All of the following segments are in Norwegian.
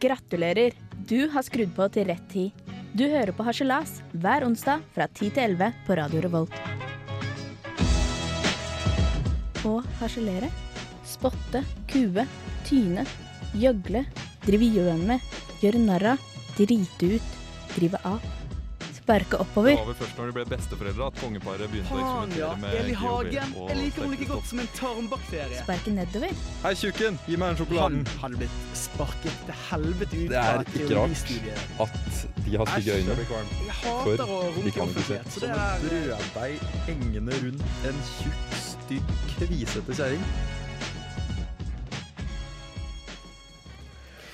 Gratulerer! Du har skrudd på til rett tid. Du hører på Harselas hver onsdag fra 10 til 11 på Radio Revolt. Å harselere, spotte, kue, tyne, gjøgle, drive gjøn med, gjøre narr av, drite ut, drive av. Sparke Det oppover. var vel først når de ble besteforeldre at kongeparet begynte å Faen, ja. eksperimentere med Eli Hagen. GHB og Jeg liker henne like sterkere godt som en tarmbakterie. Sparke nedover. stoff. Hei, tjukken! Gi meg den sjokoladen! Han hadde blitt sparket til helvete ut Det er ikke fra rart teoristudiet. at de har stygge Æsj, jeg øyne. blir kvalm. Jeg For hater å de kan runke ikke se. offentlighet, så det er brødbeig hengende rundt en tjukk, stygg, kvisete kjerring.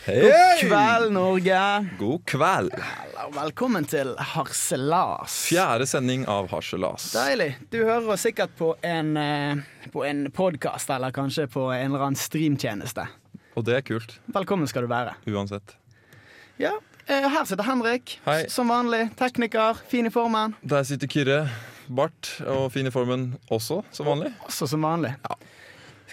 God kveld, Norge! God kveld. Eller, Velkommen til Harselas. Fjerde sending av Harselas. Deilig. Du hører oss sikkert på en, eh, på en podkast, eller kanskje på en eller annen streamtjeneste. Og det er kult, Velkommen skal du være. uansett. Ja, eh, Her sitter Henrik, Hei. s- som vanlig. Tekniker, fin i formen. Der sitter Kyrre, bart og fin i formen også, som vanlig. Også som vanlig.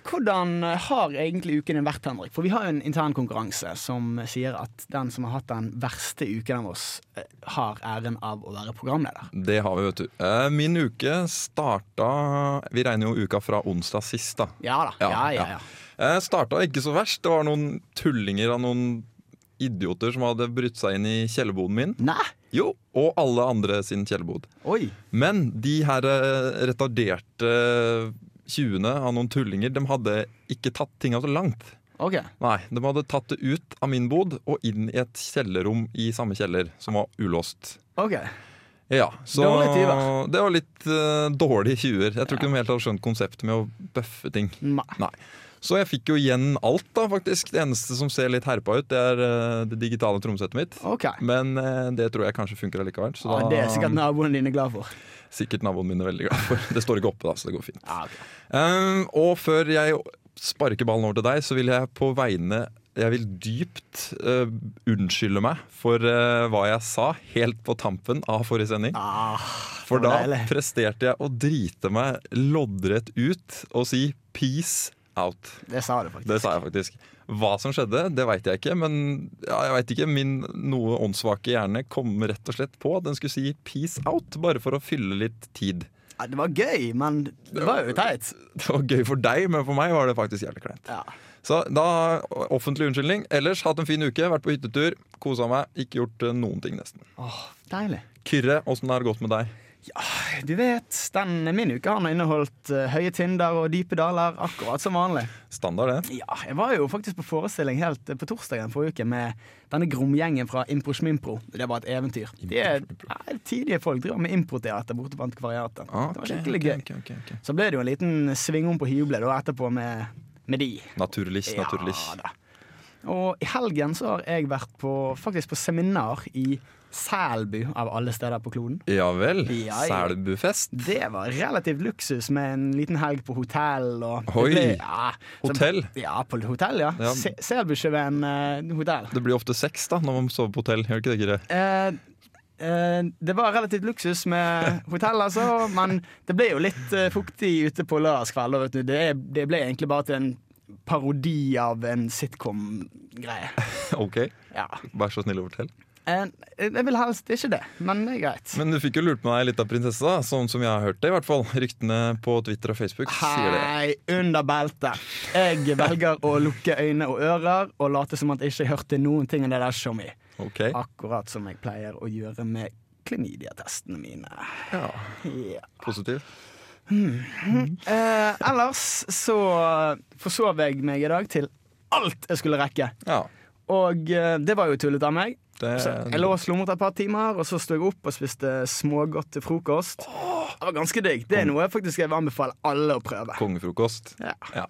Hvordan eh, har egentlig uken din vært, Henrik? For vi har jo en intern konkurranse som sier at den som har hatt den verste uken av oss, eh, har æren av å være programleder. Det har vi, vet du. Eh, Min uke starta Vi regner jo uka fra onsdag sist, da. Ja da. Ja, ja, ja. Eh, Starta ikke så verst. Det var noen tullinger av noen idioter som hadde brutt seg inn i kjellerboden min. Nei? Jo, og alle andre sin kjellerbod. Oi. Men de her eh, retarderte eh, tjuvene av noen tullinger, de hadde ikke tatt tinga så langt. OK. Nei, de hadde tatt det ut av min bod og inn i et kjellerrom i samme kjeller, som var ulåst. ok Ja, så Dårlige tyver. det var litt eh, dårlige tjuver. Jeg tror ikke de helt har skjønt konseptet med å bøffe ting. Nei. Nei. Så jeg fikk jo igjen alt, da, faktisk. Det eneste som ser litt herpa ut, det er eh, det digitale trommesettet mitt. OK. Men eh, det tror jeg kanskje funker allikevel. Så da, Ja, det er sikkert naboene dine glad for. sikkert naboen min er veldig glad for. Det står ikke oppe, da, så det går fint. Ja, ok. Um, og før jeg sparker ballen over til deg, så vil jeg på vegne Jeg vil dypt eh, unnskylde meg for eh, hva jeg sa helt på tampen av forrige sending. Ah, For da det var deilig. presterte jeg å drite meg loddrett ut og si 'peace out'. Det sa du faktisk. Det sa jeg faktisk. Hva som skjedde, det veit jeg ikke. Men ja, jeg vet ikke, min noe åndssvake hjerne kom rett og slett på at den skulle si 'peace out', bare for å fylle litt tid. Ja, det var gøy, men det var jo teit. Det var gøy for deg, men for meg var det faktisk jævlig kleint. Ja. Så da, offentlig unnskyldning. Ellers hatt en fin uke, vært på hyttetur, kosa meg. Ikke gjort eh, noen ting, nesten. Åh, deilig. Kyrre, åssen har det gått med deg? Du vet, den min uke har inneholdt eh, høye tinder og dype daler, akkurat som vanlig. Standard, det. Ja, jeg var jo faktisk på forestilling helt eh, på torsdagen forrige uke med denne gromgjengen fra Impro Schmimpro. Det var et eventyr. De er ja, tidlige folk, driver med improteater borte på antikvariatet. det var skikkelig Ok, gøy. ok, ok, ok. Så ble det jo en liten svingom på hyblet da, etterpå med, med de. Naturligvis, naturligvis. da. Og i helgen så har jeg vært på, faktisk på seminar i Selbu, av alle steder på kloden. Ja vel. Ja, ja. Selbufest. Det var relativt luksus med en liten helg på hotell. Og Oi. Det ble- ja, så- Hotell? Ja, på hotell, ja. Ja. Se- Selbusjøen eh, hotell. Det blir ofte sex da, når man sover på hotell, gjør det ikke det, Kyrre? Eh, eh, det var relativt luksus med hotell, altså, men det ble jo litt eh, fuktig ute på lørdagskvelder. vet du. Det, det ble egentlig bare til en parodi av en sitcom-greie. Ok, Ja. vær så snill og fortell. Eh, jeg vil helst ikke det, men det er greit. Men du fikk jo lurt med deg litt av prinsessa, da, sånn som jeg har hørt det. i hvert fall Ryktene på Twitter og Facebook sier det. Hei, under beltet. Jeg velger å lukke øyne og ører og late som at jeg ikke hørte noen ting av det der som i. Ok, Akkurat som jeg pleier å gjøre med klamydiatestene mine. ja, Ja. Positiv. Eh, ellers så forsov jeg meg i dag til alt jeg skulle rekke. Ja, Og eh, det var jo tullet av meg. det Så jeg lå og slumret et par timer, og så sto jeg opp og spiste smågodt til frokost. Det var ganske digg. Det er noe jeg faktisk vil anbefale alle å prøve. Kongefrokost. Ja. Ja.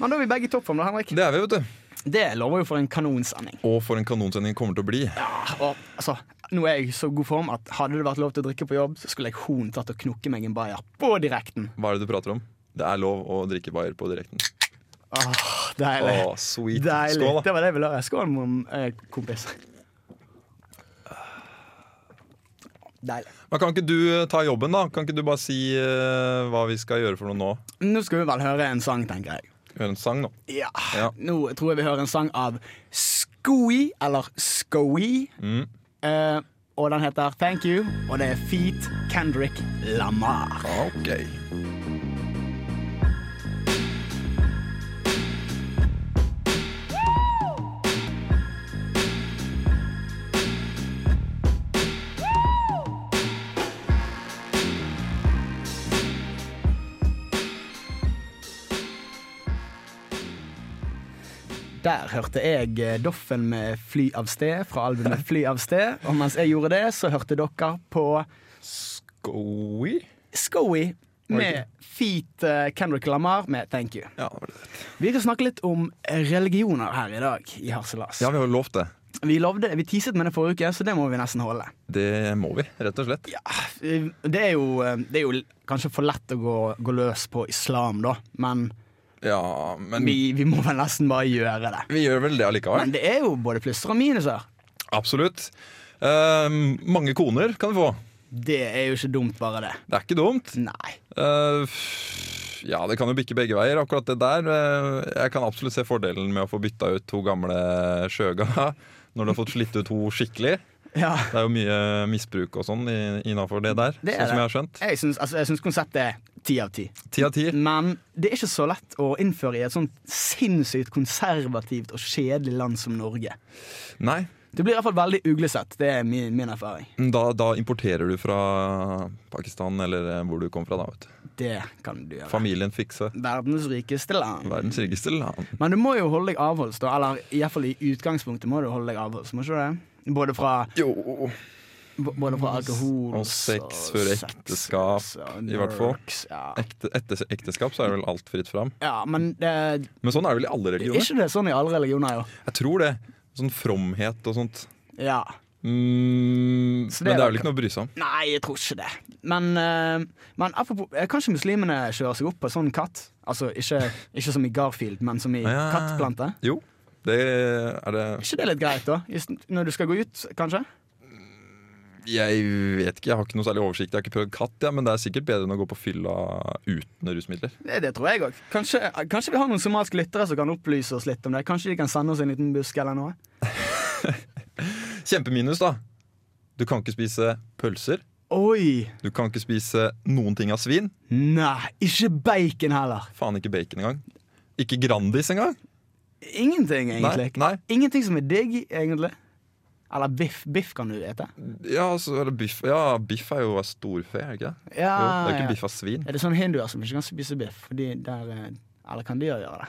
Men da er vi begge i toppform, da, Henrik. Det er vi, vet du. Det lover jo for en kanonsending. Og for en kanonsending det kommer til å bli. Og altså, nå er jeg i så god form at hadde det vært lov til å drikke på jobb, så skulle jeg horn tatt og knokke meg en bayer på direkten. Hva er det du prater om? Det er lov å drikke bayer på direkten. Åh, deilig. Å, sweet. deilig. Skål, da. Det var det jeg ville høre. Skål, mom, eh, kompis. Deilig. Men kan ikke du eh, ta jobben, da? Kan ikke du bare si eh, hva vi skal gjøre for noe nå? Nå skal vi vel høre en sang, tenker jeg. Gjøre en sang nå. Ja. Ja. Nå tror jeg vi hører en sang av Sk Skoi, eller Skoi. Mm. Eh, og den heter Thank You, og det er Feet Kendrick Lamar. Ah, Ok. Der hørte jeg eh, Doffen med 'Fly av sted' fra albumet 'Fly av sted'. Og mens jeg gjorde det, så hørte dere på Skoi? Skoi med Oi. Feet eh, Kendrick Lamar med 'Thank You'. Ja, det var det. Vi skal snakke litt om religioner her i dag i Harselas. ja, vi har jo lovt det. Vi, lovde, vi teaset med det forrige uke, så det må vi nesten holde. Det må vi, rett og slett. Eh, Det er jo, eh, det er jo l- kanskje for lett å gå, gå løs på islam, da, men Ja, men vi, vi, vi må vel nesten bare gjøre det. gjør vel det allikevel. Men det er jo både plusser og minuser. Absolutt. Ehm, mange koner kan du få. Det er jo ikke dumt, bare det. Det er ikke dumt. Nei. Eh, f- ja, det kan jo bikke begge veier, akkurat det der. eh, jeg kan absolutt se fordelen med å få bytta ut to gamle skjøga når du har fått slitt ut to skikkelig. Ja. Det er jo mye misbruk og sånn i- innafor det der, Det er sånn som jeg har skjønt. Jeg syns, altså, jeg syns konseptet er ti av ti. Ti av ti. Men det er ikke så lett å innføre i et sånt sinnssykt konservativt og kjedelig land som Norge. Nei, Du blir i hvert fall veldig uglesett. Det er min, min erfaring. da, da importerer du fra Pakistan eller eh, hvor du kom fra, da. Vet du. Det kan du gjøre. Familien fikse. Verdens rikeste land. Verdens rikeste land. Men du må jo holde deg avholds, da. Eller iallfall i utgangspunktet må du holde deg avholds. Må ikke du det? Både fra, Jo. b- både fra alkohol Og sex og før sex, ekteskap, og i hvert fall. drugs, Ja. Ekte, etter ekteskap så er det vel alt fritt fram. ja, men det, Men sånn er det vel i alle er religioner? ikke det sånn i alle religioner, jo? Jeg tror det. Sånn fromhet og sånt. Ja. Mm, Så det men det er er vel det- ikke noe å bry seg om. Nei, jeg tror ikke det. Men, eh, men apropos, eh, kan ikke muslimene kjøre seg opp på en sånn katt? Altså ikke, ikke som i Garfield, men som i Ja, ja, ja. kattplante? Jo, det er det Er ikke det litt greit, da? Just Når du skal gå ut, kanskje? Jeg vet ikke, jeg har ikke noe særlig oversikt. Jeg har ikke prøvd katt, ja, men det er sikkert bedre enn å gå på fylla uten rusmidler. Det, det tror jeg òg. Kanskje, kanskje vi har noen somaliske lyttere som kan opplyse oss litt om det? Kanskje de kan sende oss en liten busk eller noe? Kjempeminus, da. Du kan ikke spise pølser. Oi! Du kan ikke spise noen ting av svin. Nei, ikke bacon heller. Faen ikke bacon engang. Ikke Grandis engang. Ingenting, egentlig. Nei, nei. Ingenting som er digg, egentlig. Eller biff. Biff kan du ete. Ja, så er det biff. ja, biff er jo av storfe, er det ikke det? Ja, Jo, det er ja. ikke biff av svin. Er det sånn hinduer som ikke kan spise biff? Fordi der, eh, eller kan de jo gjøre det?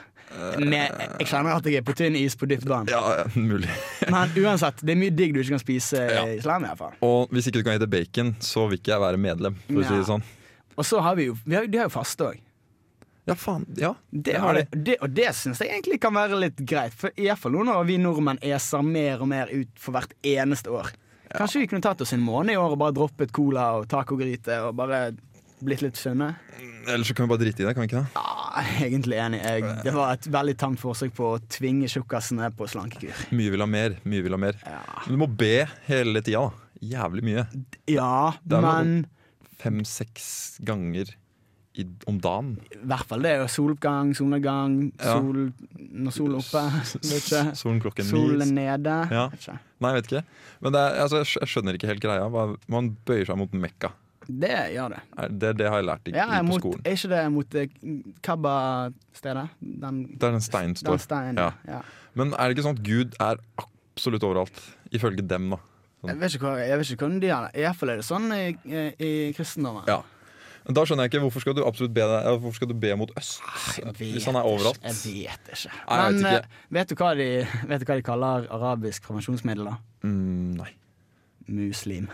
Men jeg kjenner at jeg er på tynn is på dypt vann. Ja, ja, mulig. Men uansett, det er mye digg du ikke kan spise Ja. i islam. i hvert fall Og hvis ikke du kan hete bacon, så vil ikke jeg være medlem, for å si det Ja. sånn. Og så har vi jo, vi har, jo- de har jo faste òg. Ja, faen. Ja, Det har det, det, og det syns jeg egentlig kan være litt greit, for i hvert fall nå når vi nordmenn eser mer og mer ut for hvert eneste år. Kanskje vi kunne tatt oss en måned i år og bare droppet cola og tacogryte og bare blitt litt sunne? Ellers så kan vi bare drite i det, kan vi ikke det? Ja, egentlig enig. Jeg, det var et veldig tamt forsøk på å tvinge tjukkasene på slankekur. Mye vil ha mer, mye vil ha mer. Ja, Men du må be hele tida, da. Jævlig mye. ja er vel- men Fem-seks ganger i, om dagen. i hvert fall det er jo soloppgang, solnedgang, Ja. sol når solen er oppe, vet ikke. Solen klokken Solen ni. nede. Ja. Vet ikke. Nei, jeg vet ikke. Men det er, altså, jeg skj- jeg skjønner ikke helt greia. Hva- Man bøyer seg mot Mekka. Det gjør det. Er- Det, det har jeg lært i, Ja, i på mot, skolen. er ikke det mot eh, Kabba-stedet? Den, Der den steinen den står. steinen. Ja. Ja. Men er det ikke sånn at Gud er absolutt overalt? Ifølge dem, da. Jeg, vet ikke hva, jeg vet ikke hvordan de har det. Iallfall er det sånn i, i, i kristendommen. Ja. Men da skjønner jeg ikke hvorfor skal du absolutt be, deg, eller hvorfor skal du be mot øst? Ah, Jeg vet Hvis han er overalt. ikke, Jeg vet ikke. Nei, jeg vet Men ikke. eh, vet, du hva de, vet du hva de kaller arabisk prevensjonsmiddel, da? Mm, nei. Muslim.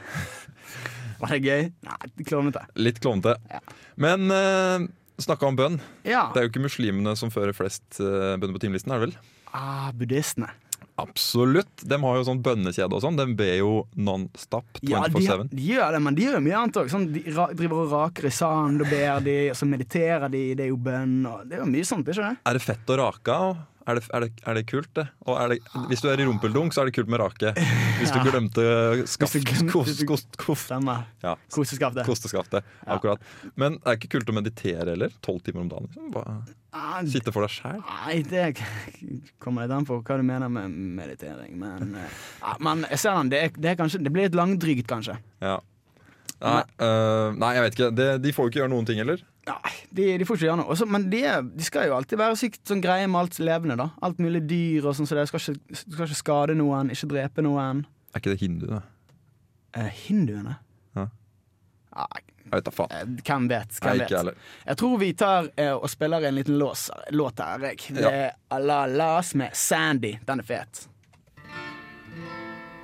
Var det gøy? Nei, klovnete. Litt klovnete. Ja. Men eh, snakka om bønn. Ja. Det er jo ikke muslimene som fører flest eh, bønner på timelisten, er det vel? Ah, buddhistene. Absolutt. De har jo sånn bønnekjede og sånn. De ber jo non-stop Ja, de, 24-7. de gjør det, men de gjør jo mye annet òg. Sånn, de ra, driver og raker i sand, og ber de, og så mediterer de, det er jo bønn, og det er jo mye sånt, ikke det? Er det fett å rake av? Er det, er det, er det kult, det? Og er det, hvis du er i rumpeldunk, så er det kult med rake. Hvis du Ja. glemte skaft, Hvis du glemte- kost, kost, koft, Stemmer. ja, Koseskaftet. kosteskaftet. Ja. Akkurat. Men det er ikke kult å meditere heller? Tolv timer om dagen? Liksom. Bare Ah, sitte for deg sjæl? Nei, det kommer litt an på hva du mener med meditering. Men, eh, ja, men jeg ser den. Det, er, det, er kanskje, det blir litt langdrygt, kanskje. Ja. Nei, øh, nei, jeg vet ikke. Det, de får jo ikke gjøre noen ting heller. Nei, de, de får ikke gjøre noe. Også, men de, er- de skal jo alltid være sykt sånn greie med alt levende. da Alt mulig dyr og sånn, så det skal ikke, skal ikke skade noen, ikke drepe noen. Er ikke det hindu, da? Eh, hinduene? Ja. Nei, Jeg vet da faen. eh, hvem vet? Nei, Hvem ikke jeg vet? heller. Jeg tror vi tar eh, og spiller en liten lås, låt her, jeg. Det er Allah Las med Sandy. Den er fet.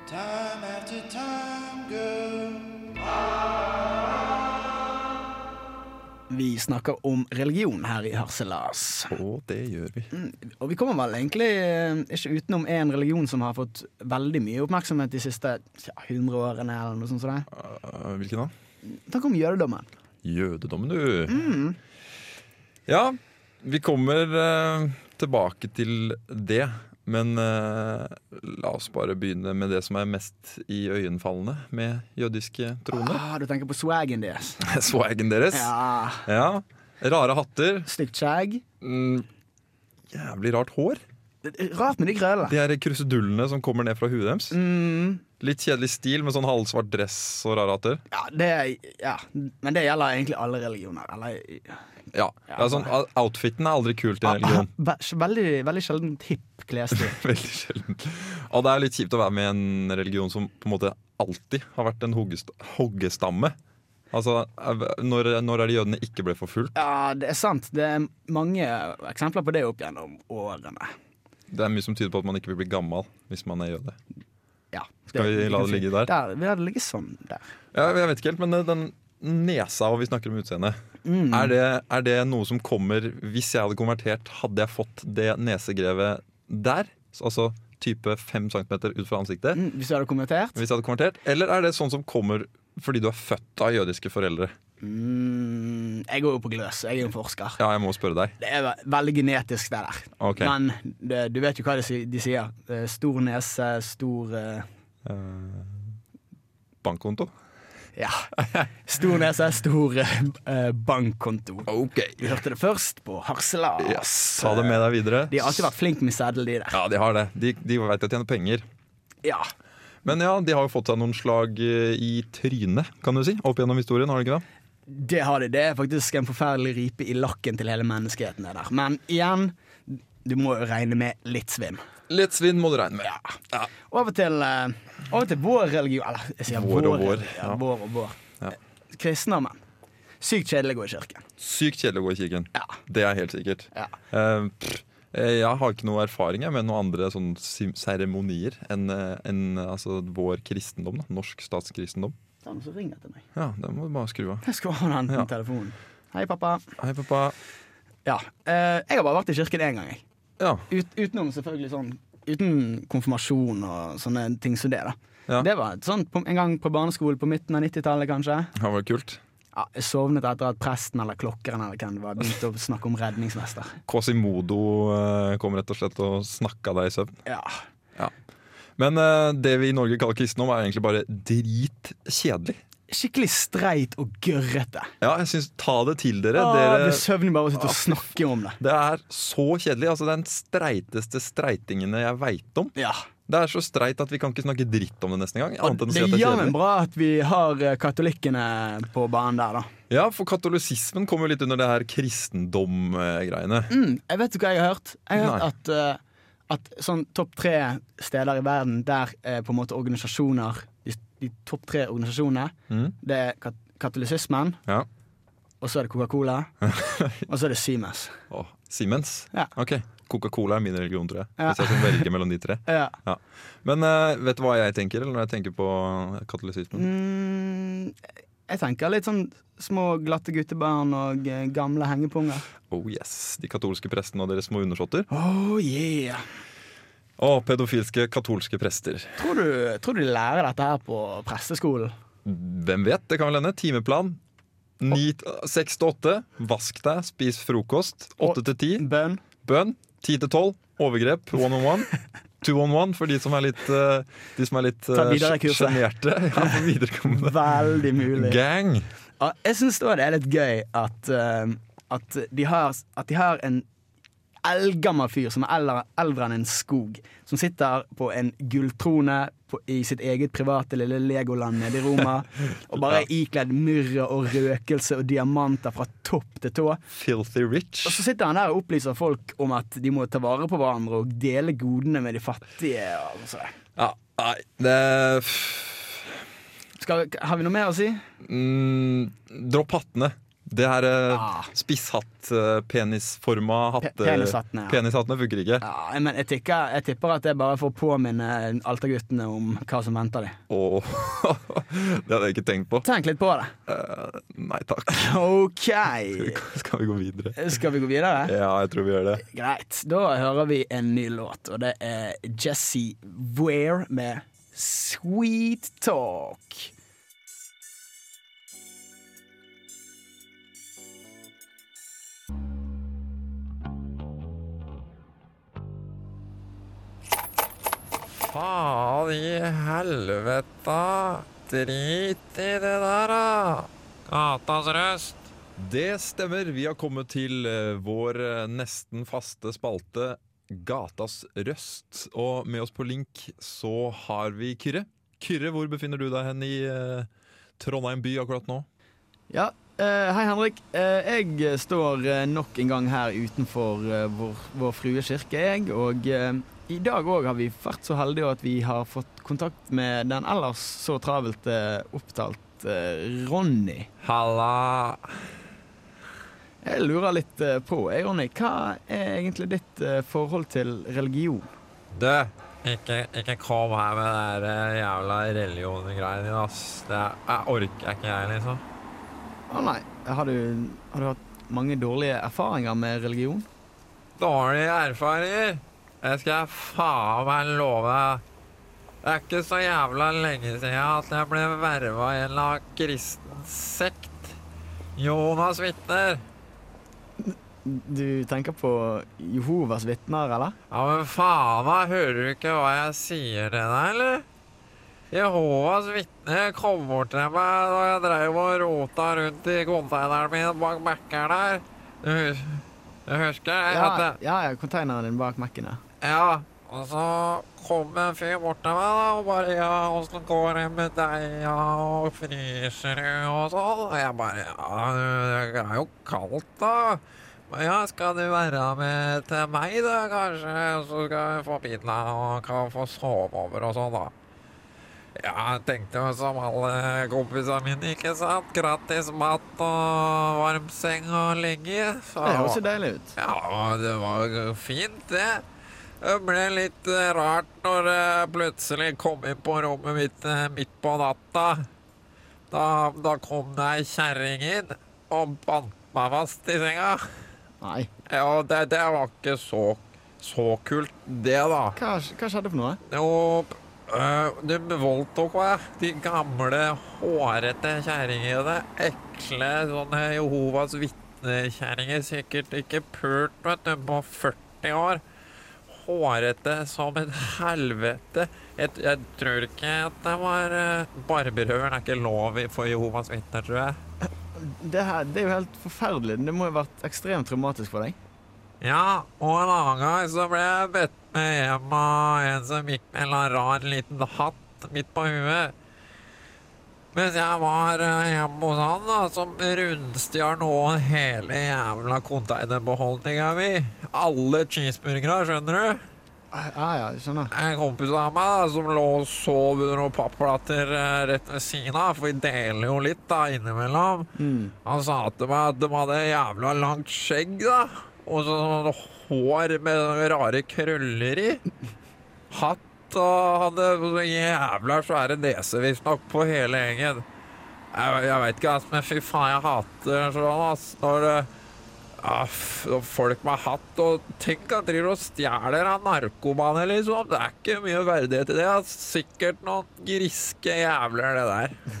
Time after time, girl. Vi snakker om religion her i Harselas. Å, det gjør vi. Og vi kommer vel egentlig eh, ikke utenom en religion som har fått veldig mye oppmerksomhet de siste ja, 100 årene. eller noe sånt som det. Øh, hvilken da? Takk om jødedommen. Jødedommen, du. Ja, vi kommer eh, tilbake til det. Men eh, la oss bare begynne med det som er mest iøynefallende med jødiske troende. Ah, du tenker på swagen deres. Swagen deres. Ah. Ja. Ja, Rare hatter. Stygt skjegg. Mm, jævlig rart hår. Rart med de krøllene. De her krusedullene som kommer ned fra huet deres. Mm, Litt kjedelig stil med sånn halvsvart dress og rare hatter. ja, det, ja, men det gjelder egentlig alle religioner. Eller, Ja, Ah, det er sånn, Outfiten er aldri kult i en religion. Ve- veldig, veldig sjelden hipp klesstil. Veldig sjelden. Og det er litt kjipt å være med i en religion som på en måte alltid har vært en hoggest- hoggestamme. Altså, er- når, når er det jødene ikke ble forfulgt? Ja, det er sant. Det er mange eksempler på det opp gjennom årene. Det er mye som tyder på at man ikke vil bli gammel hvis man er jøde. Ja, Skal vi la det ligge der? der vi lar det ligge sånn der. Jeg, jeg vet ikke helt, men eh, den nesa, og vi snakker om utseendet, er, det- er det noe som kommer hvis jeg hadde konvertert, hadde jeg fått det nesegrevet der? Så, Altså type 5 cm ut fra ansiktet? Mm, Hvis du hadde kommentert? Hvis jeg hadde konvertert? Eller er det sånn som kommer fordi du er født av jødiske foreldre? Mm, jeg går jo på gløs. Jeg er jo en forsker. Ja, jeg må spørre deg. Det er ve- veldig genetisk, det der. Ok. Men det, du vet jo hva de, si- de sier. Eh, Stor nese, stor eh, Eh, bankkonto? Ja. Stor nese, stor eh, bankkonto. Ok. Du hørte det først på Harselas. Eh, Yes, ta det med deg videre. De har alltid vært flinke med seddel, de der. Ja, de har det. De, de veit å tjene penger. Ja. Men ja, de har jo fått seg noen slag eh, i trynet, kan du si. Opp gjennom historien, har de ikke det? Det har de. Det er faktisk en forferdelig ripe i lakken til hele menneskeheten. Det der. Men igjen, du må jo regne med litt svinn. Litt svinn må du regne med. Ja. Over til, eh, over til vår religion. Eller jeg sier Vår vår, og vår, religion. Ja, ja. vår og vår. Ja. Eh, Kristendommen. Sykt kjedelig å gå i kirken. Sykt kjedelig å gå i kirken. Ja. Det er helt sikkert. Ja. Eh, pff, eh, jeg har ikke noe erfaring jeg, med noen andre sånn sim- seremonier enn eh, enn, eh, altså, vår kristendom. Da. Norsk statskristendom. Det er noen som ringer til meg. Ja, det må du bare skru av. Jeg skal ha den Ja. telefonen. Hei, pappa. Hei, pappa. Ja. eh, jeg har bare vært i kirken én gang, jeg. Ja. Ut, utenom selvfølgelig sånn Uten konfirmasjon og sånne ting som det, da. Ja. Det var et sånt på- en gang på barneskolen på midten av 90-tallet, kanskje. Det var kult. Ja, jeg sovnet etter at presten eller klokkeren eller hvem det var begynte å snakke om redningsvester. Quasimodo eh, kom rett og slett og snakka deg i søvn. Ja. Men eh, det vi i Norge kaller kristendom, er egentlig bare dritkjedelig. Skikkelig streit og gørrete. Ah, Ja, jeg synes, Ta det til dere. Åh, dere Du søvner bare av å sitte og snakke om det. det er så kjedelig. altså det er Den streiteste streitingene jeg veit om. Ja. Det er så streit at vi kan ikke snakke dritt om det nesten engang. Og Annet enn å det si at er det er jammen kjedelig. bra at vi har eh, katolikkene på banen der, da. Ja, For katolisismen kommer jo litt under det her kristendom-greiene. Mm, jeg vet du hva jeg har hørt? Jeg har Nei. hørt at, eh, at sånn topp tre steder i verden der eh, på en måte organisasjoner De, de topp tre organisasjonene, Mm. det er kat katolisismen, Ja. og så er det Coca-Cola, og så er det Siemens. Åh, Siemens? Ja. Ok. Coca-Cola er min religion, tror jeg. Ja. Hvis jeg skal velge mellom de tre. Ja. Ja. Men eh, vet du hva jeg tenker eller når jeg tenker på katolisismen? Mm, jeg tenker litt sånn små glatte guttebarn og eh, gamle hengepunger. Oh yes, De katolske prestene og deres små undersåtter. Oh yeah! Og pedofilske katolske prester. Tror du, tror du de lærer dette her på presteskolen? Hvem vet? Det kan vel hende. Timeplan. Ni- Seks til åtte. Vask deg, spis frokost. Åtte til ti. Bønn? Bønn. Ti til tolv. Overgrep, one on one. Two on one for de som er litt eh, De som er litt Ta eh, videre kurset. sjenerte. Ja, på viderekommende. Veldig mulig. Gang! Ja, jeg syns da det er litt gøy at, eh, at, de, har, at de har en eldgammel fyr som er eldre, eldre enn en skog, som sitter på en gulltrone på, i sitt eget private lille Legoland nede i Roma, og bare er ikledd myrra og røkelse og diamanter fra topp til tå. Filthy rich. Og så sitter han der og opplyser folk om at de må ta vare på hverandre og dele godene med de fattige. Og alt sånt. Ja, nei, det Skal, har vi noe mer å si? mm, Dropp hattene. Det her eh, Ah. spisshatt, eh, penisforma hatte... Pe- penishattene, ja. penishattene funker ikke. Ja, men jeg, tikker, jeg tipper at jeg bare får påminne alterguttene om hva som venter dem. Åh, det hadde jeg ikke tenkt på. Tenk litt på det. Eh, nei takk. OK. Skal vi gå videre? Skal vi gå videre? Ja, jeg tror vi gjør det. Greit. Da hører vi en ny låt, og det er Jesse Ware med Sweet Talk. Faen i helvete. Drit i det der, da. Gatas røst. Det stemmer. Vi har kommet til eh, vår eh, nesten faste spalte Gatas røst. Og med oss på link så har vi Kyrre. Kyrre, hvor befinner du deg hen i eh, Trondheim by akkurat nå? Ja, eh, hei Henrik. Eh, jeg står eh, nok en gang her utenfor eh, vår, vår frue kirke, jeg. Og eh, i dag òg har vi vært så heldige at vi har fått kontakt med den ellers så travelt eh, opptalt eh, Ronny. Halla. Jeg lurer litt eh, på, eh, Ronny, hva er egentlig ditt eh, forhold til religion? Du, ikke, ikke kom her med det der eh, jævla religion-greien din, ass. Det er, jeg orker ikke jeg, liksom. Å nei, har du, har du hatt mange dårlige erfaringer med religion? Dårlige erfaringer! Det skal jeg faen meg love deg. Det er ikke så jævla lenge siden at jeg ble verva i en eller annen kristen sekt. Jonas vitner. Du tenker på Jehovas vitner, eller? Ja, men faen da, hører du ikke hva jeg sier til deg, eller? Jehovas vitner kom bort til meg da jeg dreiv og rota rundt i konteineren min bak Mækkern her. Du hus- du husker det? Ja, At jeg- ja, ja konteineren din bak Mac-en, ja. ja. Og så kom en fyr bort til meg da, og bare ja, åssen går det med deg, ja, og fryser du, og sånn. Og jeg bare ja, det er jo kaldt da. Men ja, skal du være med til meg da, kanskje? Så skal vi få pizza og kan få sove over og sånn da. Ja, jeg tenkte jo som alle kompisene mine, ikke sant? Gratis mat og varm seng og ligge. Så Det høres jo deilig ut. ja, det var jo fint, det. Det ble litt eh, rart når jeg plutselig kom inn på rommet mitt eh, midt på natta. Da, da kom det ei kjerring inn og bandt meg fast i senga. Nei, Ja, det, det var ikke så, så kult, det, da. hva, hva skjedde for noe? Jo, øh, du voldtok meg. De gamle, hårete kjerringene. Ekle sånne Jehovas vitnekjerringer. Sikkert ikke pult, vet du, på 40 år. Hårete som et helvete. Jeg, jeg tror ikke at det var øh, Barberhøvelen er ikke lov i- for Jehovas vitner, tror jeg. Det, her, det er jo helt forferdelig. Det må jo ha vært ekstremt traumatisk for deg. Ja, og en annen gang så ble jeg bedt med hjem av en som gikk med en eller annen rar liten hatt midt på huet. Mens jeg var eh, hjemme hos han, da, som rundstjal noen hele jævla konteinerbeholdninga mi. Alle cheeseburgere, skjønner du? Ah, Ja, ja, jeg skjønner. En kompis av meg da, som lå og sov under noen papplater eh, rett ved siden av, for vi deler jo litt da, innimellom. Mm. Han sa til meg at de hadde jævla langt skjegg, da. Og så sånn hår med sånne rare krøller i. Hatt og hadde så jævla svære nese, visstnok, på hele gjengen. Jeg, jeg veit ikke, ass, men fy faen, jeg hater sånn, ass. Når det ja, f- og folk med hatt og Tenk at de driver og stjeler av narkomane, liksom. Det er ikke mye verdighet i det. ass. Sikkert noen griske jævler, det der.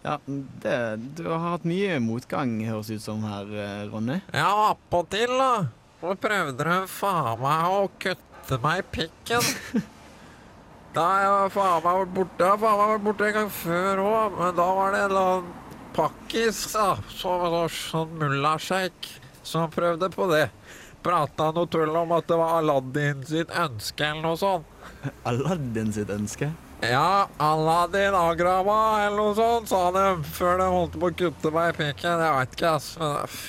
Ja, det, du har hatt mye motgang, høres ut som her, eh, Ronny. Ja, attpåtil, da. Og prøvde du faen meg å kutte meg i pikken? Da har jeg faen meg vært borte. Jeg har faen meg vært borte en gang før òg, men da var det en eller annen pakkis, da. Som en sånn mullasjeik som prøvde på det. Prata noe tull om at det var Aladdin sitt ønske eller noe sånt. Aladdin sitt ønske. Ja, Aladdin Agrava eller noe sånt, sa de før de holdt på å kutte meg i pikken. Jeg veit ikke, ass. Men pff,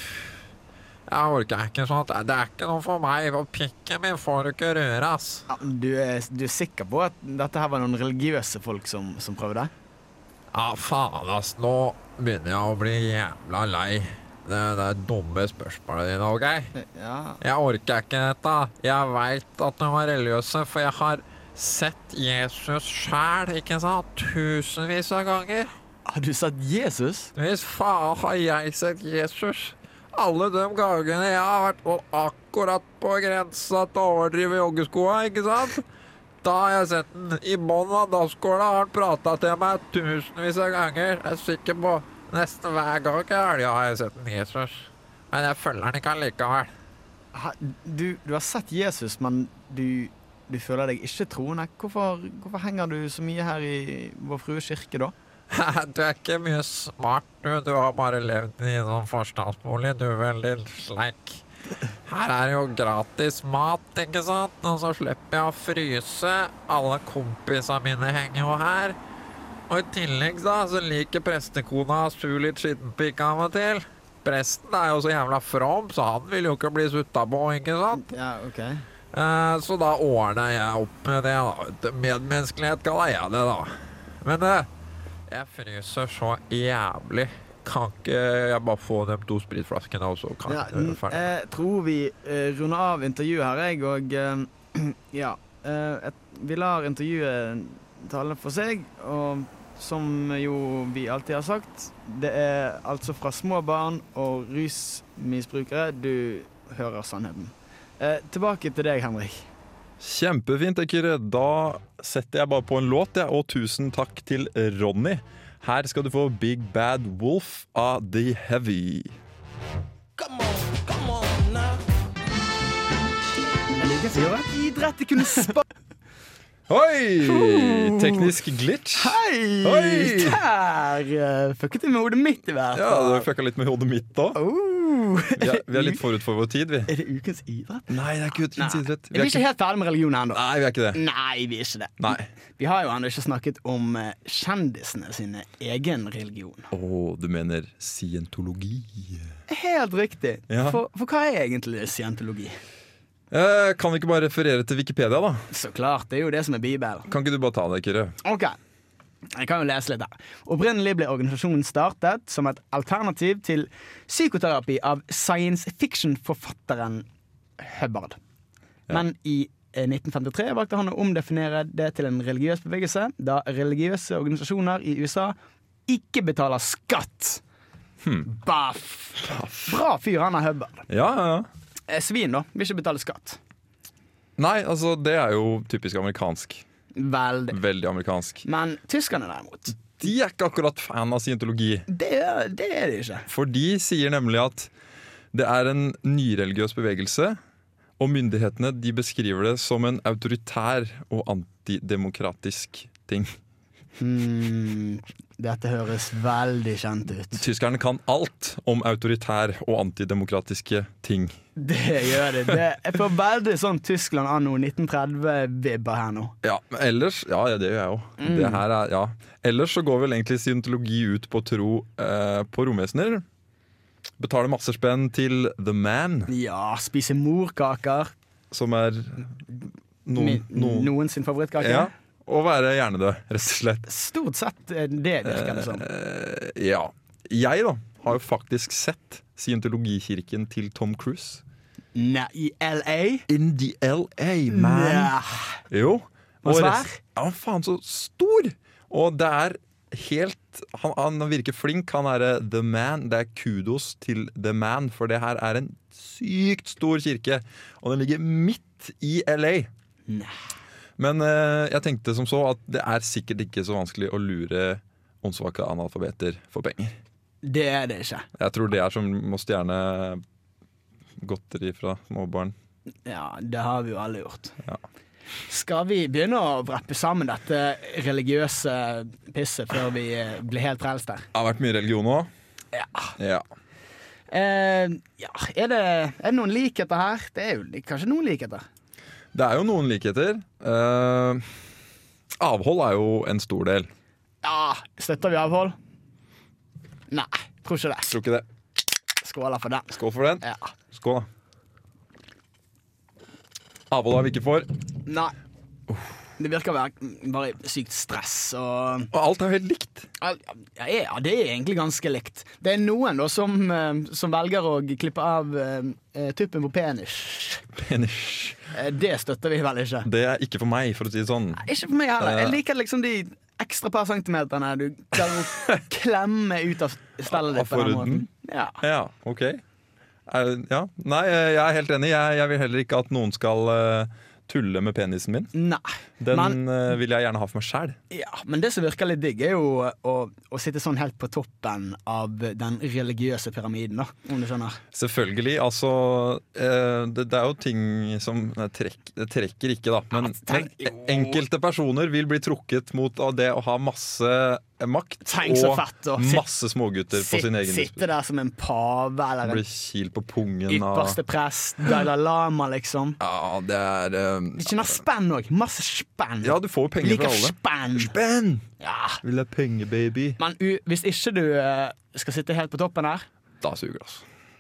jeg orker ikke sånt. Det er ikke noe for meg. For pikken min får du ikke røre, ass. Ja, men du, er, du er sikker på at dette her var noen religiøse folk som, som prøvde? Ja, faen, ass. Nå begynner jeg å bli jævla lei. Det, det er dumme spørsmålet dine, OK? Ja. Jeg orker ikke dette. Jeg veit at de var religiøse, for jeg har sett Jesus sjæl, ikke sant? Tusenvis av ganger. Har du sett Jesus? Hvis faen har jeg sett Jesus? Alle de gangene jeg har vært på- akkurat på grensa til å overdrive joggeskoa, ikke sant? Da har jeg sett den. I bånn av dasskåla har han prata til meg tusenvis av ganger. Jeg er sikker på nesten hver gang i helga har jeg sett den Jesus. Men jeg følger den ikke allikevel. Ha, du, du har sett Jesus, men du, du føler deg ikke troende. Hvorfor, hvorfor henger du så mye her i Vår Frue kirke, da? Du er ikke mye smart, du. Du har bare levd i noen forstandsbolig, du vel, din sleik. Her er jo gratis mat, ikke sant? Og så slipper jeg å fryse. Alle kompisene mine henger jo her. Og i tillegg da, så liker prestekona å su litt skittenpikk av og til. Presten er jo så jævla from, så han vil jo ikke bli sutta på, ikke sant? Ja, ok. Eh, Så da ordner jeg opp med det. da. vet du. Medmenneskelighet kaller jeg det, da. Men eh, jeg fryser så jævlig. Kan ikke jeg bare få de to spritflaskene, og så kan Ja, jeg n- gjøre ferdig? jeg tror vi eh, runder av intervjuet her, jeg, og eh, ja. eh, et, vi lar intervjuet tale for seg, og som jo vi alltid har sagt, det er altså fra små barn og rusmisbrukere du hører sannheten. Eh, tilbake til deg, Henrik. Kjempefint, jeg, Kyrre. Da setter jeg bare på en låt, jeg. Og tusen takk til Ronny. Her skal du få Big Bad Wolf av The Heavy. Come on, come on now. Idrett, jeg kunne spa... Oi! Teknisk glitch. Hei! Oi! Der eh, fucket du med hodet mitt, i hvert Ja, fall. du fucka litt med hodet mitt òg. Oh. Vi, er- vi er litt forut for vår tid, vi. Er det ukens idrett? Nei, det er ikke Nei. utens idrett. Vi er ikke helt ferdig med religion ennå. Nei, Mm. vi er ikke det. Nei, vi er ikke det. Nei. Vi har jo ennå ikke snakket om eh, kjendisene sine egen religion. Å, du mener scientologi? Helt riktig. Ja. For, for hva er egentlig scientologi? Eh, kan vi ikke bare referere til Wikipedia, da? Så klart, det er jo det som er Bibelen. Kan ikke du bare ta det, Kyrre? Ok, jeg kan jo lese litt her. Opprinnelig ble organisasjonen startet som et alternativ til psykoterapi av science fiction-forfatteren Hubbard. Men i eh, 1953 valgte han å omdefinere det til en religiøs bevegelse, da religiøse organisasjoner i USA ikke betaler skatt. Baff! Bra fyr, han er Hubbard. Ja, ja, ja. Eh, Svin, da. Vil ikke betale skatt. Nei, altså, det er jo typisk amerikansk. Veldig. Veldig amerikansk. Men tyskerne, derimot, De er ikke akkurat fan av scientologi. det, er- det er de ikke. For de sier nemlig at det er en nyreligiøs bevegelse, og myndighetene de beskriver det som en autoritær og antidemokratisk ting. Hmm, dette høres veldig kjent ut. Tyskerne kan alt om autoritær og antidemokratiske ting. Det gjør det. det jeg får veldig sånn Tyskland anno 1930-vibber her nå. Ja, men ellers Ja, ja, det gjør jeg jo. Det her er, ja. Ellers så går vel egentlig scientologi ut på å tro eh, på romvesener. Betaler masse spenn til The Man, Ja, spise morkaker. som er noen, Min, noen, noen sin favorittkake. Ja. Og være hjernedød, rett og slett. Stort sett er det virker det som. Eh, ja. Jeg da har jo faktisk sett scientologikirken til Tom Cruise. Nei, i LA? In the LA, Nei. Jo. Var og svær? rest- Ja, faen så stor! Og det er helt Han, han virker flink. Han er eh, the man. Det er kudos til the man, for det her er en sykt stor kirke. Og den ligger midt i LA. Nei. Men eh, jeg tenkte som så at det er sikkert ikke så vanskelig å lure åndssvake analfabeter for penger. Det er det ikke. Jeg tror det er som å stjerne godteri fra småbarn. Ja, det har vi jo alle gjort. Ja. Skal vi begynne å vreppe sammen dette religiøse pisset før vi eh, blir helt frelst her? Det har vært mye religion òg. Ja. Ja. Eh, ja. Er, det, er det noen likheter her? Det er jo li- kanskje noen likheter. Det er jo noen likheter. Eh, avhold er jo en stor del. Ja, Støtter vi avhold? Nei, tror ikke det. Tror ikke det. Skåler for den. Skål for den. Ja. Skål, da. Avhold er vi ikke for. Nei. Det virker å være bare sykt stress og Og alt er jo helt likt. Ja, ja, det er egentlig ganske likt. Det er noen da som, eh, som velger å klippe av eh, tuppen på penis. Penisj. Eh, Det støtter vi vel ikke. Det er ikke for meg, for å si det sånn. Ikke for meg heller. Eh. Jeg liker liksom de ekstra par centimeterne du klarer å klemme ut av stellet Av ditt. på den forhuden? måten. Ja. Ja, ok. Er, ja. Nei, eh, jeg er helt enig. Jeg, jeg vil heller ikke at noen skal eh, tulle med penisen min. Nei. Den Men- eh, vil jeg gjerne ha for meg sjæl. Ja, men det som virker litt digg, er jo å, å sitte sånn helt på toppen av den religiøse pyramiden, da, om du skjønner. Selvfølgelig. Altså eh, det, det er jo ting som nei, trekk, Det trekker ikke, da. Men, tenk- men enkelte personer vil bli trukket mot av det å ha masse eh, makt Tenk så fett, og sit- masse smågutter på Sitt- sin egen sitte der som en pave eller Bli en kilt på pungen av ypperste prest, Dalai Lama, liksom. Ja, det er eh, De tjener spenn òg. Masse spenn. Ja, du får jo penger Liker fra alle. spenn. Spenn! Ja. Vil ha penger, baby. Men u hvis ikke du eh, skal sitte helt på toppen her, Da suger det,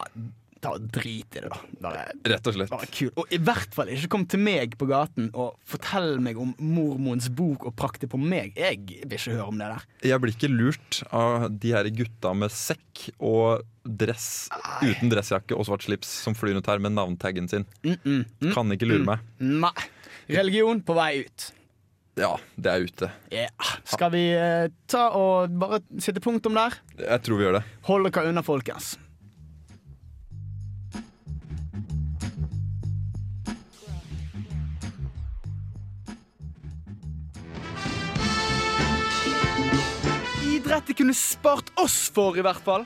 altså. ta og drit i det, da. Bare Rett og slett. Bare kul. Og i hvert fall ikke kom til meg på gaten og fortell meg om mormons bok og prakte på meg. Jeg vil ikke høre om det der. Jeg blir ikke lurt av de her gutta med sekk og dress uten dressjakke og svart slips som flyr rundt her med navntaggen sin. Kan ikke lure meg. Nei. Religion på vei ut. Ja, det er ute. Ja. Skal vi eh, ta og bare sitte punktum der? Jeg tror vi gjør det. Hold dere unna, folkens. Idrett de kunne spart oss for, i hvert fall.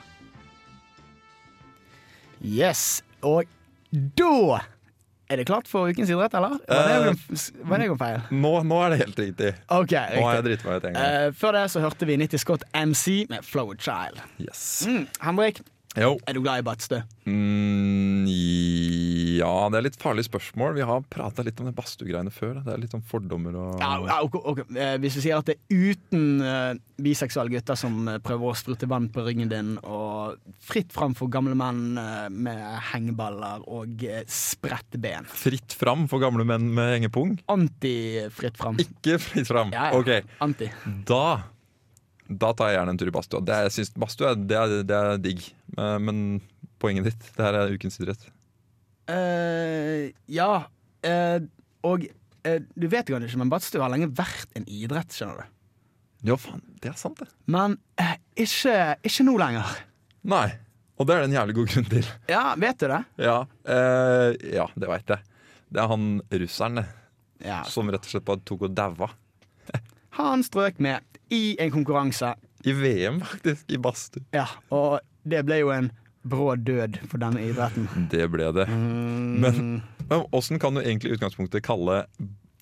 Yes, og da er det klart for ukens idrett, eller? Var det noen- Var det noen feil? Nå, nå er det helt riktig. Ok, Nå har jeg riktig. driti meg ut en gang. Eh, før det så hørte vi 90 Scott MC med Flow Child. Yes. Mm, Henrik, Jo. er du glad i badstø? Mm, ja, det er litt farlig spørsmål. Vi har prata litt om det badstuegreiene før. da. Det er litt sånn fordommer og Ja, ja, ok, ok. Eh, Hvis vi sier at det er uten eh, biseksuelle gutter som eh, prøver å sprute vann på ryggen din, og fritt fram for gamle menn eh, med hengeballer og eh, spredte ben. Fritt fram for gamle menn med hengepung? Anti-fritt fram. Ikke fritt fram. Ja, ja. Ok, Anti. Da da tar jeg gjerne en tur i badstua. Det er- Jeg synes Badstua det er, det er digg. Eh, Men poenget ditt, det her er ukens idrett. Eh, ja, eh, og eh, du vet kanskje ikke, men badstue har lenge vært en idrett, skjønner du. Ja, faen, det er sant, det. Men eh, ikke, ikke nå lenger. Nei. Og det er det en jævlig god grunn til. Ja, vet du det? Ja, eh, ja det veit jeg. Det er han russeren det, Ja. som rett og slett bare tok og daua. Han strøk med i en konkurranse, I VM, faktisk. I badstue. ja, og det ble jo en brå død for denne idretten. Det ble det. Mm. Men men åssen kan du egentlig i utgangspunktet kalle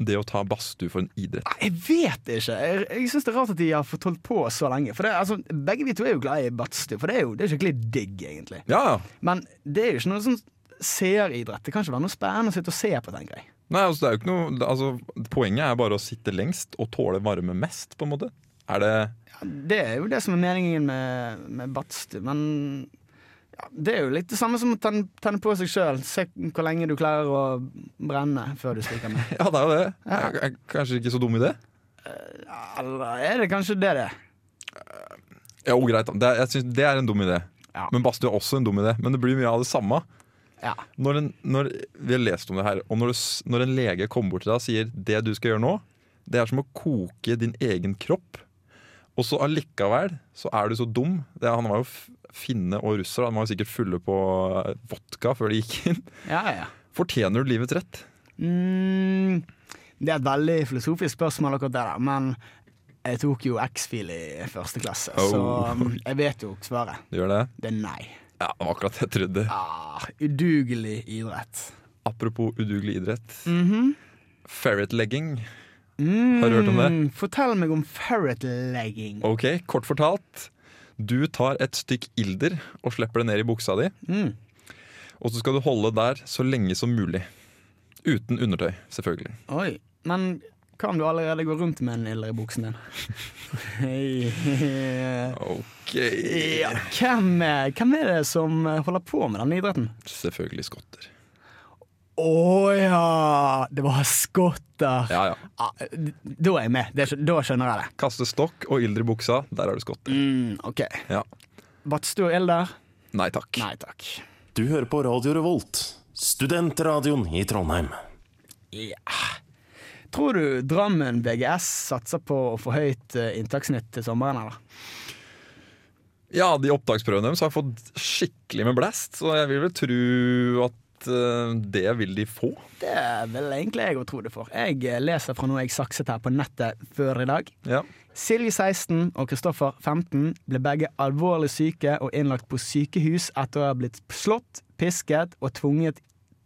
det å ta badstue for en idrett? Nei, Jeg vet ikke. Jeg, jeg syns det er rart at de har fått holdt på så lenge. For det, er, altså, Begge vi to er jo glad i badstue, for det er jo det er skikkelig digg, egentlig. Ja, ja. Men det er jo ikke noe sånn seeridrett. Det kan ikke være noe spennende å sitte og se på, tenker jeg. Nei, altså, det er jo ikke noe altså, Poenget er bare å sitte lengst og tåle varme mest, på en måte. Er det Det er jo det som er meningen med, med badstue, men ja, det er jo litt det samme som å tenne, tenne på seg sjøl. Se hvor lenge du klarer å brenne før du stikker med. Ja, det er jo det. Jeg er kanskje ikke så dum i det. Eller er det kanskje det det er? Jo, greit. da. Det er, jeg synes det er en dum idé. Ja. Men badstue er også en dum idé. Men det blir mye av det samme. Ja. Når en, når, vi har lest om det her, og når, du, s- når en lege kommer bort til deg og sier det du skal gjøre nå, det er som å koke din egen kropp. Og så allikevel så er du så dum. Det, han var jo f- finne og russer, han var jo sikkert fulle på eh, vodka før de gikk inn. Ja, ja, ja. Fortjener du livets rett? Mm, det er et veldig filosofisk spørsmål, akkurat det der, men jeg tok jo X-fil i første klasse, Oh. så um, jeg vet jo svaret. Du gjør det? Det er nei. Ja, det var akkurat det jeg trodde. Ah, udugelig idrett. Apropos udugelig idrett. Ferret legging. Har du hørt om det? Oh. Mm, Fortell meg om ferret-legging. Ok, kort fortalt. Du tar et stykk ilder og slipper det ned i buksa di. Mm. Og så skal du holde der så lenge som mulig. Uten undertøy, selvfølgelig. Oi, men kan du allerede gå rundt med en ilder i buksen din? Hei. Ok. ja, hvem, er- hvem er det som holder på med denne idretten? Selvfølgelig skotter. Å ja, det var skotter. Ja, ja. Ah, d- da er jeg med. Det, skj- da skjønner jeg det. Kaste stokk og ilder i buksa. Der har du skotter. Mm, OK. Ja. Badstue og ilder? Nei takk. Nei takk. Du hører på Radio Revolt, studentradioen i Trondheim. Tror du Drammen BGS satser på å få høyt eh, inntakssnitt til sommeren, eller? Ja, de opptaksprøvene deres har fått skikkelig med blast, så jeg vil vel tro at eh, det vil de få. Det vil egentlig jeg òg tro det for. Jeg eh, leser fra noe jeg sakset her på nettet før i dag. Ja. Silje 16 og Kristoffer 15 ble begge alvorlig syke og innlagt på sykehus etter å ha blitt slått, pisket og tvunget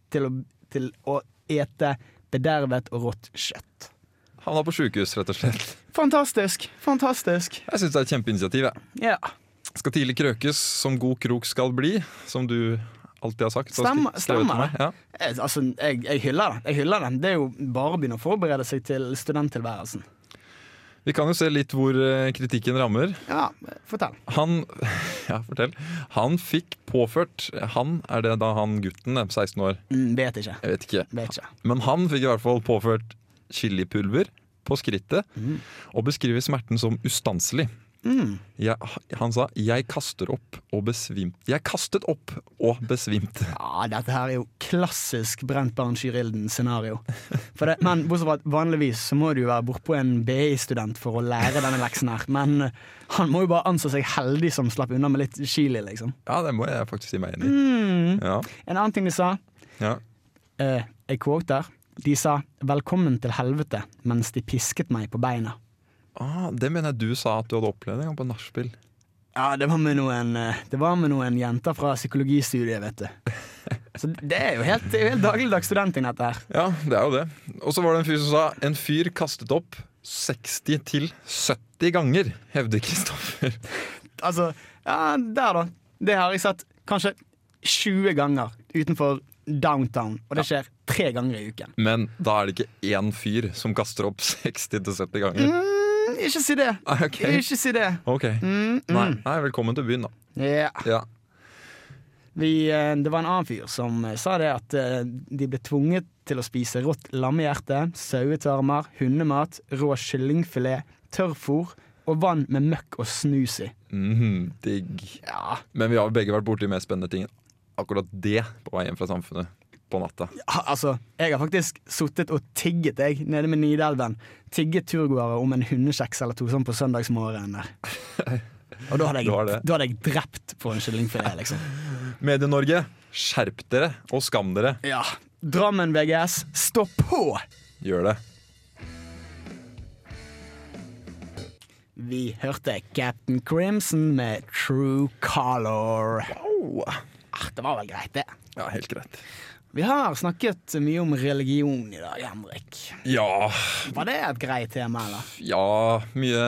til å, til å ete bedervet og rått kjøtt. Havna på sjukehus, rett og slett. Fantastisk! Fantastisk. Jeg syns det er et kjempeinitiativ. jeg. Ja. Skal tidlig krøkes som god krok skal bli, som du alltid har sagt. og Stemmer- skri- skrevet til stemmer meg. Ja. Eh, Altså, jeg, jeg hyller det. Jeg hyller det. Det er jo bare å begynne å forberede seg til studenttilværelsen. Vi kan jo se litt hvor eh, kritikken rammer. Ja, fortell. Han Ja, fortell. Han fikk påført Han er det da han gutten er 16 år. Mm, vet ikke. Jeg vet ikke. Vet ikke. Men han fikk i hvert fall påført chilipulver på skrittet Mm. og beskriver smerten som ustanselig. Jeg, han sa 'jeg kaster opp og besvimte'. Jeg kastet opp og besvimte. Ja, dette her er jo klassisk brent barn skyr ilden-scenario. For det- Men bortsett fra at vanligvis så må du jo være bortpå en BI-student for å lære denne leksen her. Men eh, han må jo bare anse seg heldig som slapp unna med litt chili, liksom. Ja, det må jeg faktisk si meg enig i. Mm. Ja, En annen ting de sa, ja. eh, jeg quoter, de sa 'velkommen til helvete' mens de pisket meg på beina. Ah, det mener jeg du sa at du hadde opplevd en gang på nachspiel. Ja, det var med noen, eh, det var med noen jenter fra psykologistudiet, vet du. Så det er jo helt, det er jo helt dagligdags studenting, dette her. Ja, det er jo det. Og så var det en fyr som sa en fyr kastet opp 60 til 70 ganger, hevder Kristoffer. Altså, ja, der da. Det har jeg sett kanskje 20 ganger utenfor downtown, og det skjer tre ganger i uken. Men da er det ikke én fyr som kaster opp 60 til 70 ganger. Mm, ikke si det. Ah, Ok, Ikke si det. ok. Mm, Nei, nei, velkommen til byen, da. Ja. Ja. Vi, eh, det var en annen fyr som eh, sa det at eh, de ble tvunget til å spise rått lammehjerte, sauetarmer, hundemat, rå kyllingfilet, tørrfôr og vann med møkk og snus i. Mhm, digg. Ja, Men vi har jo begge vært borti mer spennende ting enn akkurat det på vei hjem fra samfunnet på natta. Ha- Altså, jeg har faktisk suttet og tigget jeg nede med Nidelven. Tigget turgåere om en hundekjeks eller to sånn på søndagsmorgenen der. Og da hadde, Du har jeg, det. da hadde jeg drept på en kyllingfilet, liksom. Medie-Norge, skjerp dere og skam dere. Ja. Drammen VGS, stå på! Gjør det. Vi hørte Captain Crimson med True Color. Ah, det var vel greit, det. Ja, helt greit. Vi har snakket mye om religion i dag, Henrik. Ja, Var det et greit tema, eller? ja mye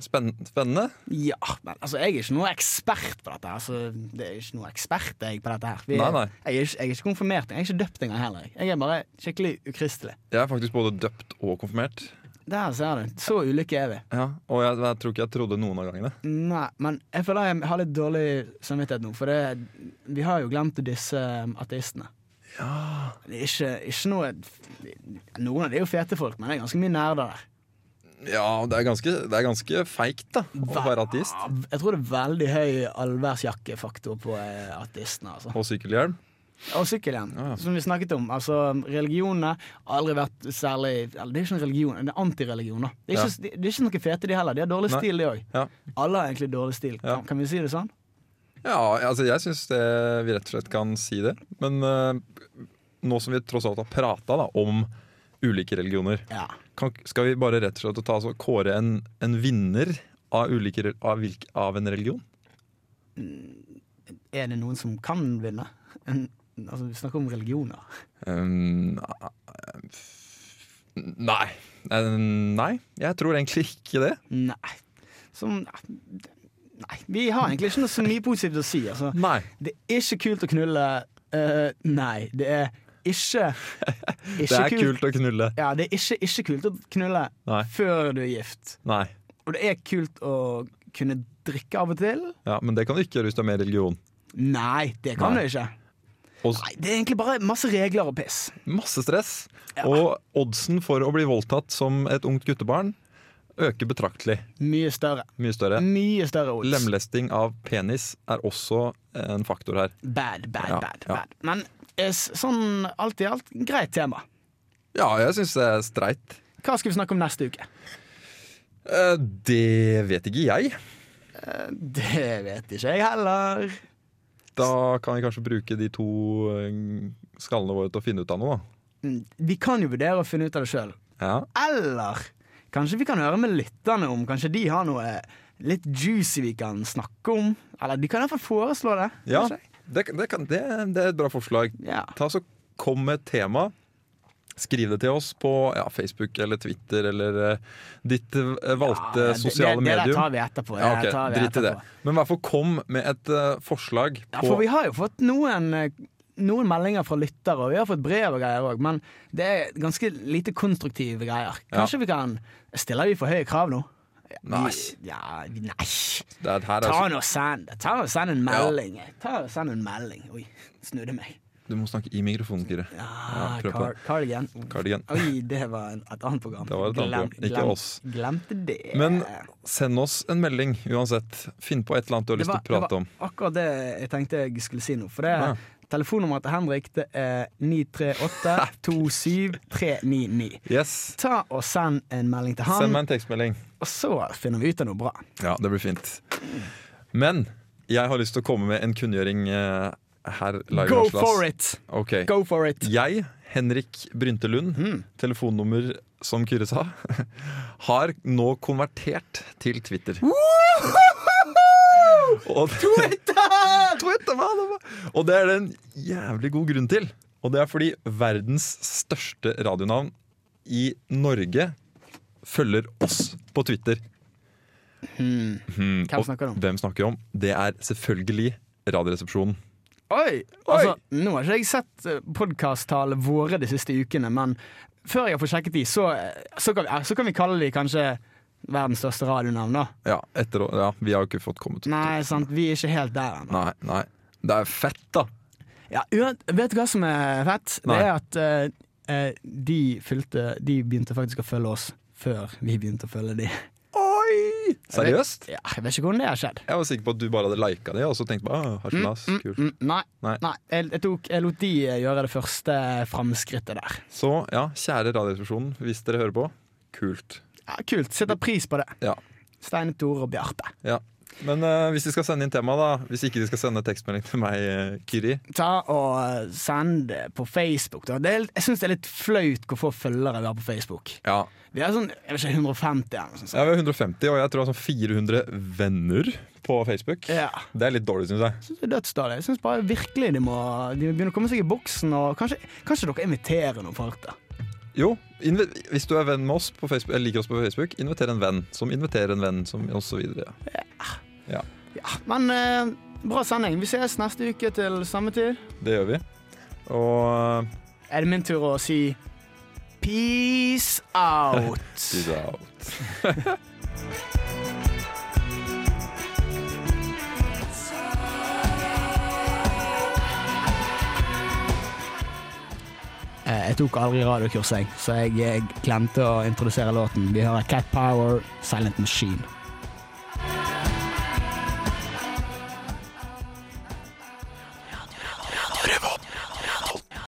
spenn spennende. Ja, men altså, jeg er ikke noe ekspert på dette. her, så det er ikke noe ekspert jeg på dette her. Vi- Nei, nei. Jeg, er ikke, jeg er ikke konfirmert, jeg er ikke døpt engang heller. Jeg er bare skikkelig ukristelig. Jeg er faktisk både døpt og konfirmert. Der ser du. Så ulike er vi. Ja, og jeg, jeg tror ikke jeg trodde noen av gangene. Nei, men jeg føler jeg har litt dårlig samvittighet nå, for det, vi har jo glemt disse um, ateistene. Ja. Det er ikke, ikke noe Noen av de er jo fete folk, men det er ganske mye nerder der. Ja, det er ganske, det er ganske feigt da, å være ateist. Ja, Jeg tror det er veldig høy allværsjakkefaktor på eh, ateistene, altså. Og sykkelhjelm. Og sykkelhjelm, ja. som vi snakket om. Altså, Religionene har aldri vært særlig eller, Det er ikke en religion, det er antireligion. da. Det er, Ja. ikke, det, det er ikke noe fete, de heller. De har dårlig Nei. stil, de òg. Ja. Alle har egentlig dårlig stil. Ja. Kan, kan vi si det sånn? Ja, altså jeg syns vi rett og slett kan si det. Men eh, nå som vi tross alt har prata om ulike religioner, Ja. kan, skal vi bare rett og slett ta oss og kåre en, en vinner av, ulike, re- av, hvilk, av en religion? Er det noen som kan vinne? En, altså, vi snakker om religioner. Um, eh, f- nei. Eh, Nei, jeg tror egentlig ikke det. Nei. Som Nei. Vi har egentlig ikke noe så mye positivt å si. Altså. Nei. Det er ikke kult å knulle. eh, nei, det er ikke Ikke Det er kult å knulle. Ja, det er ikke, ikke kult å knulle Nei. før du er gift. Nei. Og det er kult å kunne drikke av og til. Ja, Men det kan du ikke gjøre hvis du har mer religion. Nei, det kan Nei. du ikke. Og Nei, Det er egentlig bare masse regler og piss. masse stress. Og oddsen for å bli voldtatt som et ungt guttebarn øker betraktelig. Mye større. Mye større. Mye større odds. Lemlesting av penis er også eh, en faktor her. Bad, bad, Ja, bad. ja. bad. Men eh, s- sånn alt i alt, greit tema. Ja, jeg syns det er streit. Hva skal vi snakke om neste uke? Eh, Det vet ikke jeg. Det vet ikke jeg heller. Da kan vi kanskje bruke de to eh, skallene våre til å finne ut av noe. Mm, Vi kan jo vurdere å finne ut av det sjøl. da. Ja. Eller kanskje vi kan høre med lytterne om Kanskje de har noe litt juicy vi kan snakke om. Eller de kan iallfall foreslå det. Ja, kanskje? det, det, kan, det, det er et bra forslag. ja. Ta så Kom med et tema. Skriv det til oss på ja, Facebook eller Twitter eller eh, ditt eh, valgte Ja, det- sosiale det, det, der medium. tar vi etterpå. Ja, Det ok, tar vi Drit i det. etterpå. Men i hvert fall kom med et eh, forslag Ja, på for vi har jo fått noen, eh, noen meldinger fra lyttere, og vi har fått brev og greier òg, men det er ganske lite konstruktive greier. Kanskje vi kan Stiller vi for høye krav nå? Nei. Ja, nei. det er, her er, Ta altså- nå og send det. Ta og send en melding. Ta og send en melding. Oi, snudde meg. Du må snakke i mikrofonen, Kyrre. Ah, Ja, prøv på car det. cardigan. Cardigan. Oi, det var en, et annet program. Det var et annet program, ikke oss. Glemte det. Men send oss en melding uansett. Finn på et eller annet du har det lyst var, til å prate om. det var akkurat det jeg tenkte jeg skulle si nå. For det Ja. telefonnummeret til Henrik det er 938-27399. Yes, Ta og send en melding til Send han, meg en tekstmelding. og så finner vi ut av noe bra. Ja, det blir fint. Men jeg har lyst til å komme med en kunngjøring eh, her. live i Go Oslo, ass. for it! Ok. Go Hmm. for it! Jeg, Henrik Bryntelund, telefonnummer som Kyrre sa, har nå konvertert til Twitter. Og Twitter! Twitter man. Og det er det en jævlig god grunn til. Og det er fordi verdens største radionavn i Norge følger oss på Twitter. Hmm, Hvem og snakker du om? Hvem snakker vi om? Det er selvfølgelig Radioresepsjonen. Oi! Altså, nå har ikke jeg sett podkast-tallene våre de siste ukene, men før jeg får sjekket de, så, eh, så, kan, vi, så kan vi kalle de kanskje verdens største radionavn, da. Ja, etter, å- ja, vi har jo ikke fått kommet ut. Nei, sant, vi er ikke helt der ennå. Nei, nei. Det er fett, da. Ja, uan- vet du hva som er fett? Nei. Det er at eh, eh, de, fylte, de begynte faktisk å følge oss før vi begynte å følge de. Oi! Seriøst? Ja, jeg vet ikke hvordan det har skjedd. Jeg var sikker på at du bare hadde lika det og så tenkte bare, «Åh, harselas, kult. Mm, nei, Nei. nei. jeg, jeg, tok, jeg lot de eh, gjøre det første framskrittet der. Så ja, kjære Radioresepsjonen, hvis dere hører på, kult. Ja, kult. Setter pris på det. Ja. Steine Tore og Bjarte. ja. Men eh, hvis de skal sende inn tema, da. Hvis ikke de skal sende tekstmelding til meg, eh, Kiri. Ta og send det på Facebook. Da. Det er, litt- jeg syns det er litt flaut hvor få følgere vi har på Facebook. Ja. Vi har sånn jeg vet ikke, 150 eller noe sånt. Jeg er 150, og jeg tror jeg har sånn 400 venner på Facebook. Ja. Det er litt dårlig, syns jeg. synes det er dødsdårlig. Jeg synes bare virkelig de må, de må begynne å komme seg i boksen. Og kanskje, kanskje dere inviterer noen folk, da. Jo, invi- hvis du er venn med oss på Facebook, eller liker oss på Facebook, inviter en venn som inviterer en venn, som og så videre. Ja, men eh, bra sending. Vi ses neste uke til samme tid. Det gjør vi. Og Er det min tur å si peace out? Peace out. Eh, Jeg tok aldri radiokurs, jeg, så jeg, jeg glemte å introdusere låten. Vi hører Cat Power, Silent Machine.